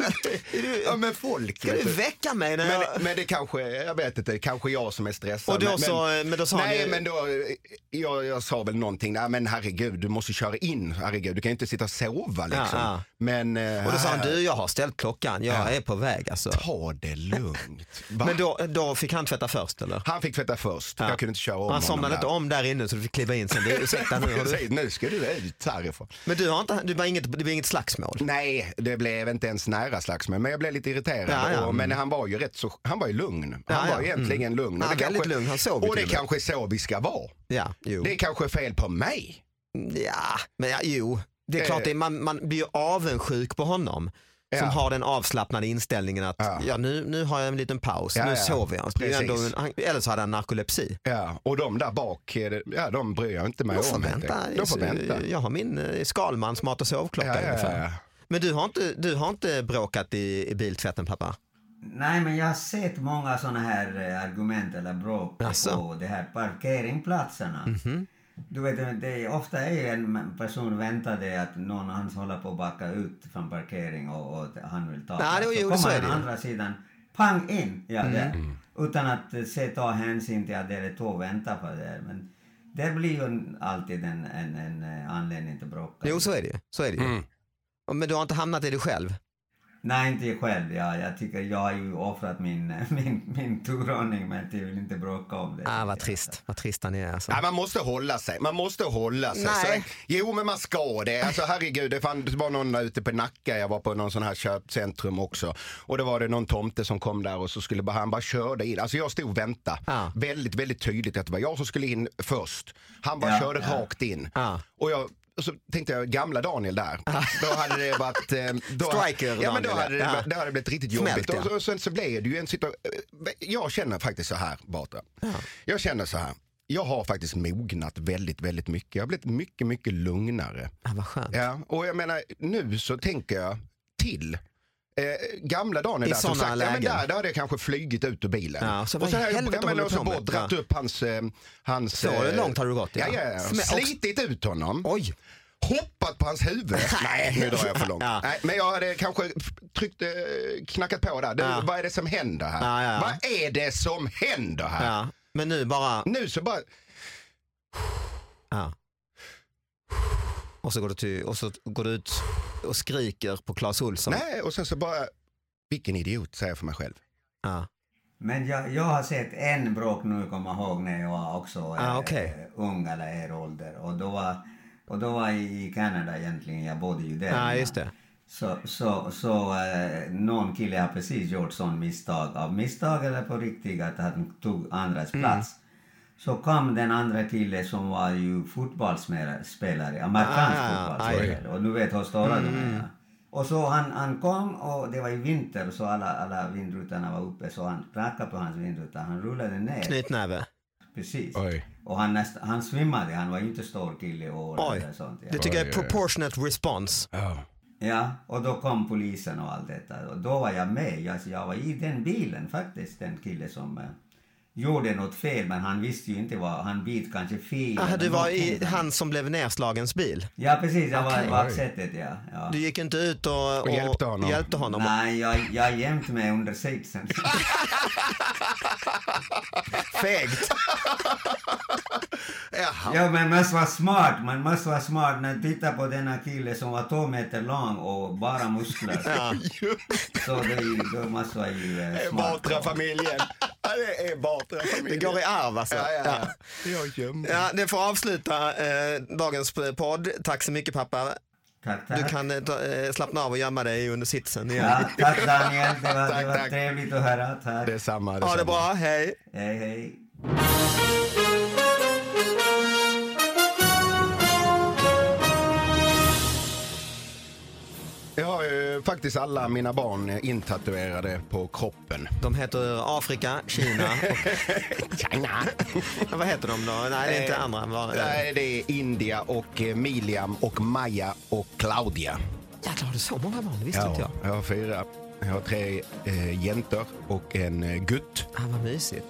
[SPEAKER 4] Ja men folk.
[SPEAKER 2] Ska
[SPEAKER 4] vet
[SPEAKER 2] du
[SPEAKER 4] du.
[SPEAKER 2] väcka mig när jag...
[SPEAKER 4] Men, men det kanske, jag vet inte, kanske jag som är stressad.
[SPEAKER 2] Och då
[SPEAKER 4] men,
[SPEAKER 2] så, eh,
[SPEAKER 4] men,
[SPEAKER 2] men då sa han
[SPEAKER 4] nej,
[SPEAKER 2] ju-
[SPEAKER 4] men då, eh, jag, jag sa väl någonting, nej men herregud, du måste köra in, herregud, du kan ju inte sitta och sova liksom.
[SPEAKER 2] Ja, ja.
[SPEAKER 4] Men, eh,
[SPEAKER 2] Och då sa
[SPEAKER 4] Äh.
[SPEAKER 2] han, du jag har ställt klockan, jag är på väg alltså.
[SPEAKER 4] ta det lugnt. Va?
[SPEAKER 2] Men då, då fick han tvätta först eller?
[SPEAKER 4] Han fick tvätta först, jag kunde inte köra om
[SPEAKER 2] Och han somnade inte
[SPEAKER 4] honom
[SPEAKER 2] om där inne så du fick kliva in sen. Du, ursäkta, nu har du...
[SPEAKER 4] Precis, nu ska du ut härifrån.
[SPEAKER 2] Men du har inte, du var inget, det var inget slagsmål?
[SPEAKER 4] Nej, det blev inte ens nära slagsmål, men jag blev lite irriterad.
[SPEAKER 2] Ja, ja. Mm.
[SPEAKER 4] Och, men han var ju rätt så, han var ju lugn. Han
[SPEAKER 2] Ja, ja.
[SPEAKER 4] var egentligen lugn. Och
[SPEAKER 2] Han
[SPEAKER 4] det
[SPEAKER 2] var väldigt lugn, han sov ju
[SPEAKER 4] Och det
[SPEAKER 2] till och med.
[SPEAKER 4] kanske är så vi ska vara.
[SPEAKER 2] Ja, jo.
[SPEAKER 4] Det är kanske är fel på mig.
[SPEAKER 2] Ja, men ja, jo. Det är klart,
[SPEAKER 4] Eh.
[SPEAKER 2] det, är- man, man blir ju avundsjuk på honom. Som
[SPEAKER 4] Ja.
[SPEAKER 2] har den avslappnade inställningen att ja.
[SPEAKER 4] Ja.
[SPEAKER 2] nu, nu har jag en liten paus,
[SPEAKER 4] Ja,
[SPEAKER 2] nu
[SPEAKER 4] ja.
[SPEAKER 2] sover jag. Det är ju ändå
[SPEAKER 4] Precis.
[SPEAKER 2] en, han, eller så hade han narkolepsi.
[SPEAKER 4] Ja, och de där bak, eh, det- ja, de bryr jag inte mig
[SPEAKER 2] De får
[SPEAKER 4] om. helt
[SPEAKER 2] vänta.
[SPEAKER 4] enkelt. De får vänta.
[SPEAKER 2] Jag har min eh, Skalmans mat och sovklocka
[SPEAKER 4] Ja, ja,
[SPEAKER 2] ungefär.
[SPEAKER 4] ja.
[SPEAKER 2] Men du har inte, du har inte bråkat i, i biltvätten pappa?
[SPEAKER 3] Nej, men jag har sett många såna här eh, argument eller bråk
[SPEAKER 2] Jaså? Mhm.
[SPEAKER 3] på de här parkeringsplatserna. Du vet, det är, ofta är ju en person väntar dig att någon han håller på att backa ut från parkering och, och att han vill ta
[SPEAKER 2] Ja, det-
[SPEAKER 3] plats.
[SPEAKER 2] jo,
[SPEAKER 3] Så
[SPEAKER 2] så är
[SPEAKER 3] kommer
[SPEAKER 2] det
[SPEAKER 3] han
[SPEAKER 2] ju. Mm.
[SPEAKER 3] andra sidan, pang in! Ja, där. Utan att eh, se, ta hänsyn till att det är två väntar på det. Men det blir ju en- alltid en, en, en eh, anledning till bråk.
[SPEAKER 4] Mm.
[SPEAKER 2] Jo så är det ju. Så är det ju. Och- Men du har inte hamnat i det själv?
[SPEAKER 3] Nej, inte jag själv. Ja, jag tycker jag har ju offrat min, min, min turordning, men jag vill inte bråka om det.
[SPEAKER 2] Ah, vad trist. Vad trist han är alltså.
[SPEAKER 4] Nej, man måste hålla sig. Man måste hålla sig.
[SPEAKER 2] Nej.
[SPEAKER 4] Så det- jo, men man ska det. Alltså, herregud, det, fann, det var någon där ute på Nacka. Jag var på någon sån här köpcentrum också. Och då var det någon tomte som kom där och så skulle bara, han bara körde in. Alltså jag stod och väntade.
[SPEAKER 2] Ja.
[SPEAKER 4] Väldigt, väldigt tydligt att det var jag som skulle in först. Han bara
[SPEAKER 3] Ja,
[SPEAKER 4] körde
[SPEAKER 3] ja.
[SPEAKER 4] rakt in.
[SPEAKER 2] Ja.
[SPEAKER 4] Och jag och så tänkte jag, gamla Daniel där. Då hade det varit... eh, Då,
[SPEAKER 2] Striker
[SPEAKER 4] ja, men då
[SPEAKER 2] Daniel,
[SPEAKER 4] hade det,
[SPEAKER 2] ja.
[SPEAKER 4] varit- det hade blivit riktigt
[SPEAKER 2] Smält,
[SPEAKER 4] jobbigt.
[SPEAKER 2] ja.
[SPEAKER 4] Och, så, och sen så blev det ju en situation. Jag känner faktiskt så här Batra. Jag känner så här. Jag har faktiskt mognat väldigt, väldigt mycket. Jag har blivit mycket, mycket lugnare.
[SPEAKER 2] Ah, vad skönt.
[SPEAKER 4] Ja, och jag menar, nu så tänker jag till. Eh, gamla Daniel
[SPEAKER 2] I
[SPEAKER 4] där som
[SPEAKER 2] såna
[SPEAKER 4] sagt, ja, men
[SPEAKER 2] lägen.
[SPEAKER 4] där, där hade jag kanske flugit ut ur bilen.
[SPEAKER 2] Ja, så
[SPEAKER 4] och
[SPEAKER 2] vad
[SPEAKER 4] så
[SPEAKER 2] i
[SPEAKER 4] har jag,
[SPEAKER 2] helvete
[SPEAKER 4] ja, men
[SPEAKER 2] håller
[SPEAKER 4] och
[SPEAKER 2] du
[SPEAKER 4] så
[SPEAKER 2] på
[SPEAKER 4] bara
[SPEAKER 2] med?
[SPEAKER 4] dratt
[SPEAKER 2] Ja.
[SPEAKER 4] upp hans... eh, hans
[SPEAKER 2] Så
[SPEAKER 4] eh,
[SPEAKER 2] långt har du gått, ja.
[SPEAKER 4] Ja, ja, ja.
[SPEAKER 2] Smä- och-
[SPEAKER 4] Slitit ut honom
[SPEAKER 2] Oj!
[SPEAKER 4] hoppat på hans huvud. Nej, nu drar jag för långt.
[SPEAKER 2] Ja.
[SPEAKER 4] Nej, men jag hade kanske f- tryckt, eh, knackat på där. Du,
[SPEAKER 2] Ja.
[SPEAKER 4] Vad är det som händer här?
[SPEAKER 2] Ja, ja, ja.
[SPEAKER 4] Vad är det som händer här?
[SPEAKER 2] Ja. Men nu bara...
[SPEAKER 4] Nu så bara,
[SPEAKER 2] Ja. Och så går du, till, och så går du ut och skriker på Clas Ohlson.
[SPEAKER 4] nej, och sen så bara, vilken idiot säger jag för mig själv.
[SPEAKER 2] Ja.
[SPEAKER 3] Men jag, jag har sett en bråk nu, kommer jag ihåg, när jag var också
[SPEAKER 2] Ah, okej.
[SPEAKER 3] eh, ung eller er ålder. Och då var, och då var jag i Kanada egentligen, jag bodde ju där.
[SPEAKER 2] Ja,
[SPEAKER 3] innan.
[SPEAKER 2] Ah, just det.
[SPEAKER 3] Så, så, så eh, någon kille har precis gjort sån misstag, av misstag eller på riktigt, att han tog andras
[SPEAKER 2] Mm.
[SPEAKER 3] plats. Så kom den andra killen som var ju fotbollsspelare, amerikansk
[SPEAKER 2] Ah, Mm.
[SPEAKER 3] fotbollsspelare. Och du vet hur stora de är. Och så han, han kom och det var i vinter så alla, alla vindrutorna var uppe så han knackade på hans vindruta. Han rullade ner.
[SPEAKER 2] Knytnäve.
[SPEAKER 3] Precis.
[SPEAKER 4] Oj.
[SPEAKER 3] Och han, näst, han svimmade, han var ju inte stor kille och år
[SPEAKER 2] Oj.
[SPEAKER 3] eller sånt. ja.
[SPEAKER 2] Det tycker jag är
[SPEAKER 4] Oj, oj, oj.
[SPEAKER 2] proportionate response.
[SPEAKER 3] Ja, och då kom polisen och allt detta. Och då var jag med. Jag, jag var i den bilen faktiskt, den kille som eh, gjorde något fel, men han visste ju inte vad, han bit kanske fel.
[SPEAKER 2] Aha,
[SPEAKER 3] eller
[SPEAKER 2] du var i
[SPEAKER 3] någonting.
[SPEAKER 2] han som blev nerslagens bil.
[SPEAKER 3] Ja, precis, jag var
[SPEAKER 2] Okej.
[SPEAKER 3] i baksätet, ja. ja.
[SPEAKER 2] Du gick inte ut och,
[SPEAKER 4] hjälpte honom.
[SPEAKER 2] hjälpte honom.
[SPEAKER 3] Nej, jag, jag är jämt med under sitsen.
[SPEAKER 2] Fegt.
[SPEAKER 4] Jaha.
[SPEAKER 3] Ja, men man måste vara smart. Man måste vara smart. När titta på denna kille som var två meter lång och bara muskler. Så det, är ju- då måste man ju
[SPEAKER 4] Det
[SPEAKER 3] eh,
[SPEAKER 4] är
[SPEAKER 3] smart.
[SPEAKER 4] Batra-familjen. Ja, Det är
[SPEAKER 2] Det
[SPEAKER 4] Batra-familjen.
[SPEAKER 2] går i arv alltså.
[SPEAKER 4] Ja, ja, ja. Jag gömde.
[SPEAKER 2] Ja, det får avsluta eh, dagens podd. Tack så mycket pappa.
[SPEAKER 3] Tack,
[SPEAKER 2] Du
[SPEAKER 3] tack.
[SPEAKER 2] kan eh, ta, eh, slappna av och gömma dig under sitsen igen.
[SPEAKER 3] Ja, tack Daniel, det var,
[SPEAKER 4] Tack,
[SPEAKER 3] det var
[SPEAKER 4] tack.
[SPEAKER 3] trevligt att höra. Tack.
[SPEAKER 4] Det är samma.
[SPEAKER 2] Ha det
[SPEAKER 4] samma.
[SPEAKER 2] bra, hej.
[SPEAKER 3] Hej, hej.
[SPEAKER 4] Jag har ju faktiskt alla mina barn intatuerade på kroppen.
[SPEAKER 2] De heter Afrika, Kina
[SPEAKER 4] China.
[SPEAKER 2] och vad heter de då? Nej, det är inte andra. Var, eh,
[SPEAKER 4] Nej, det är India och eh, Miliam och Maja och Claudia.
[SPEAKER 2] jävlar, har du så många barn? Det visste inte jag.
[SPEAKER 4] jag har fyra. Jag har tre eh, jäntor och en eh, gutt.
[SPEAKER 2] Ah, vad mysigt.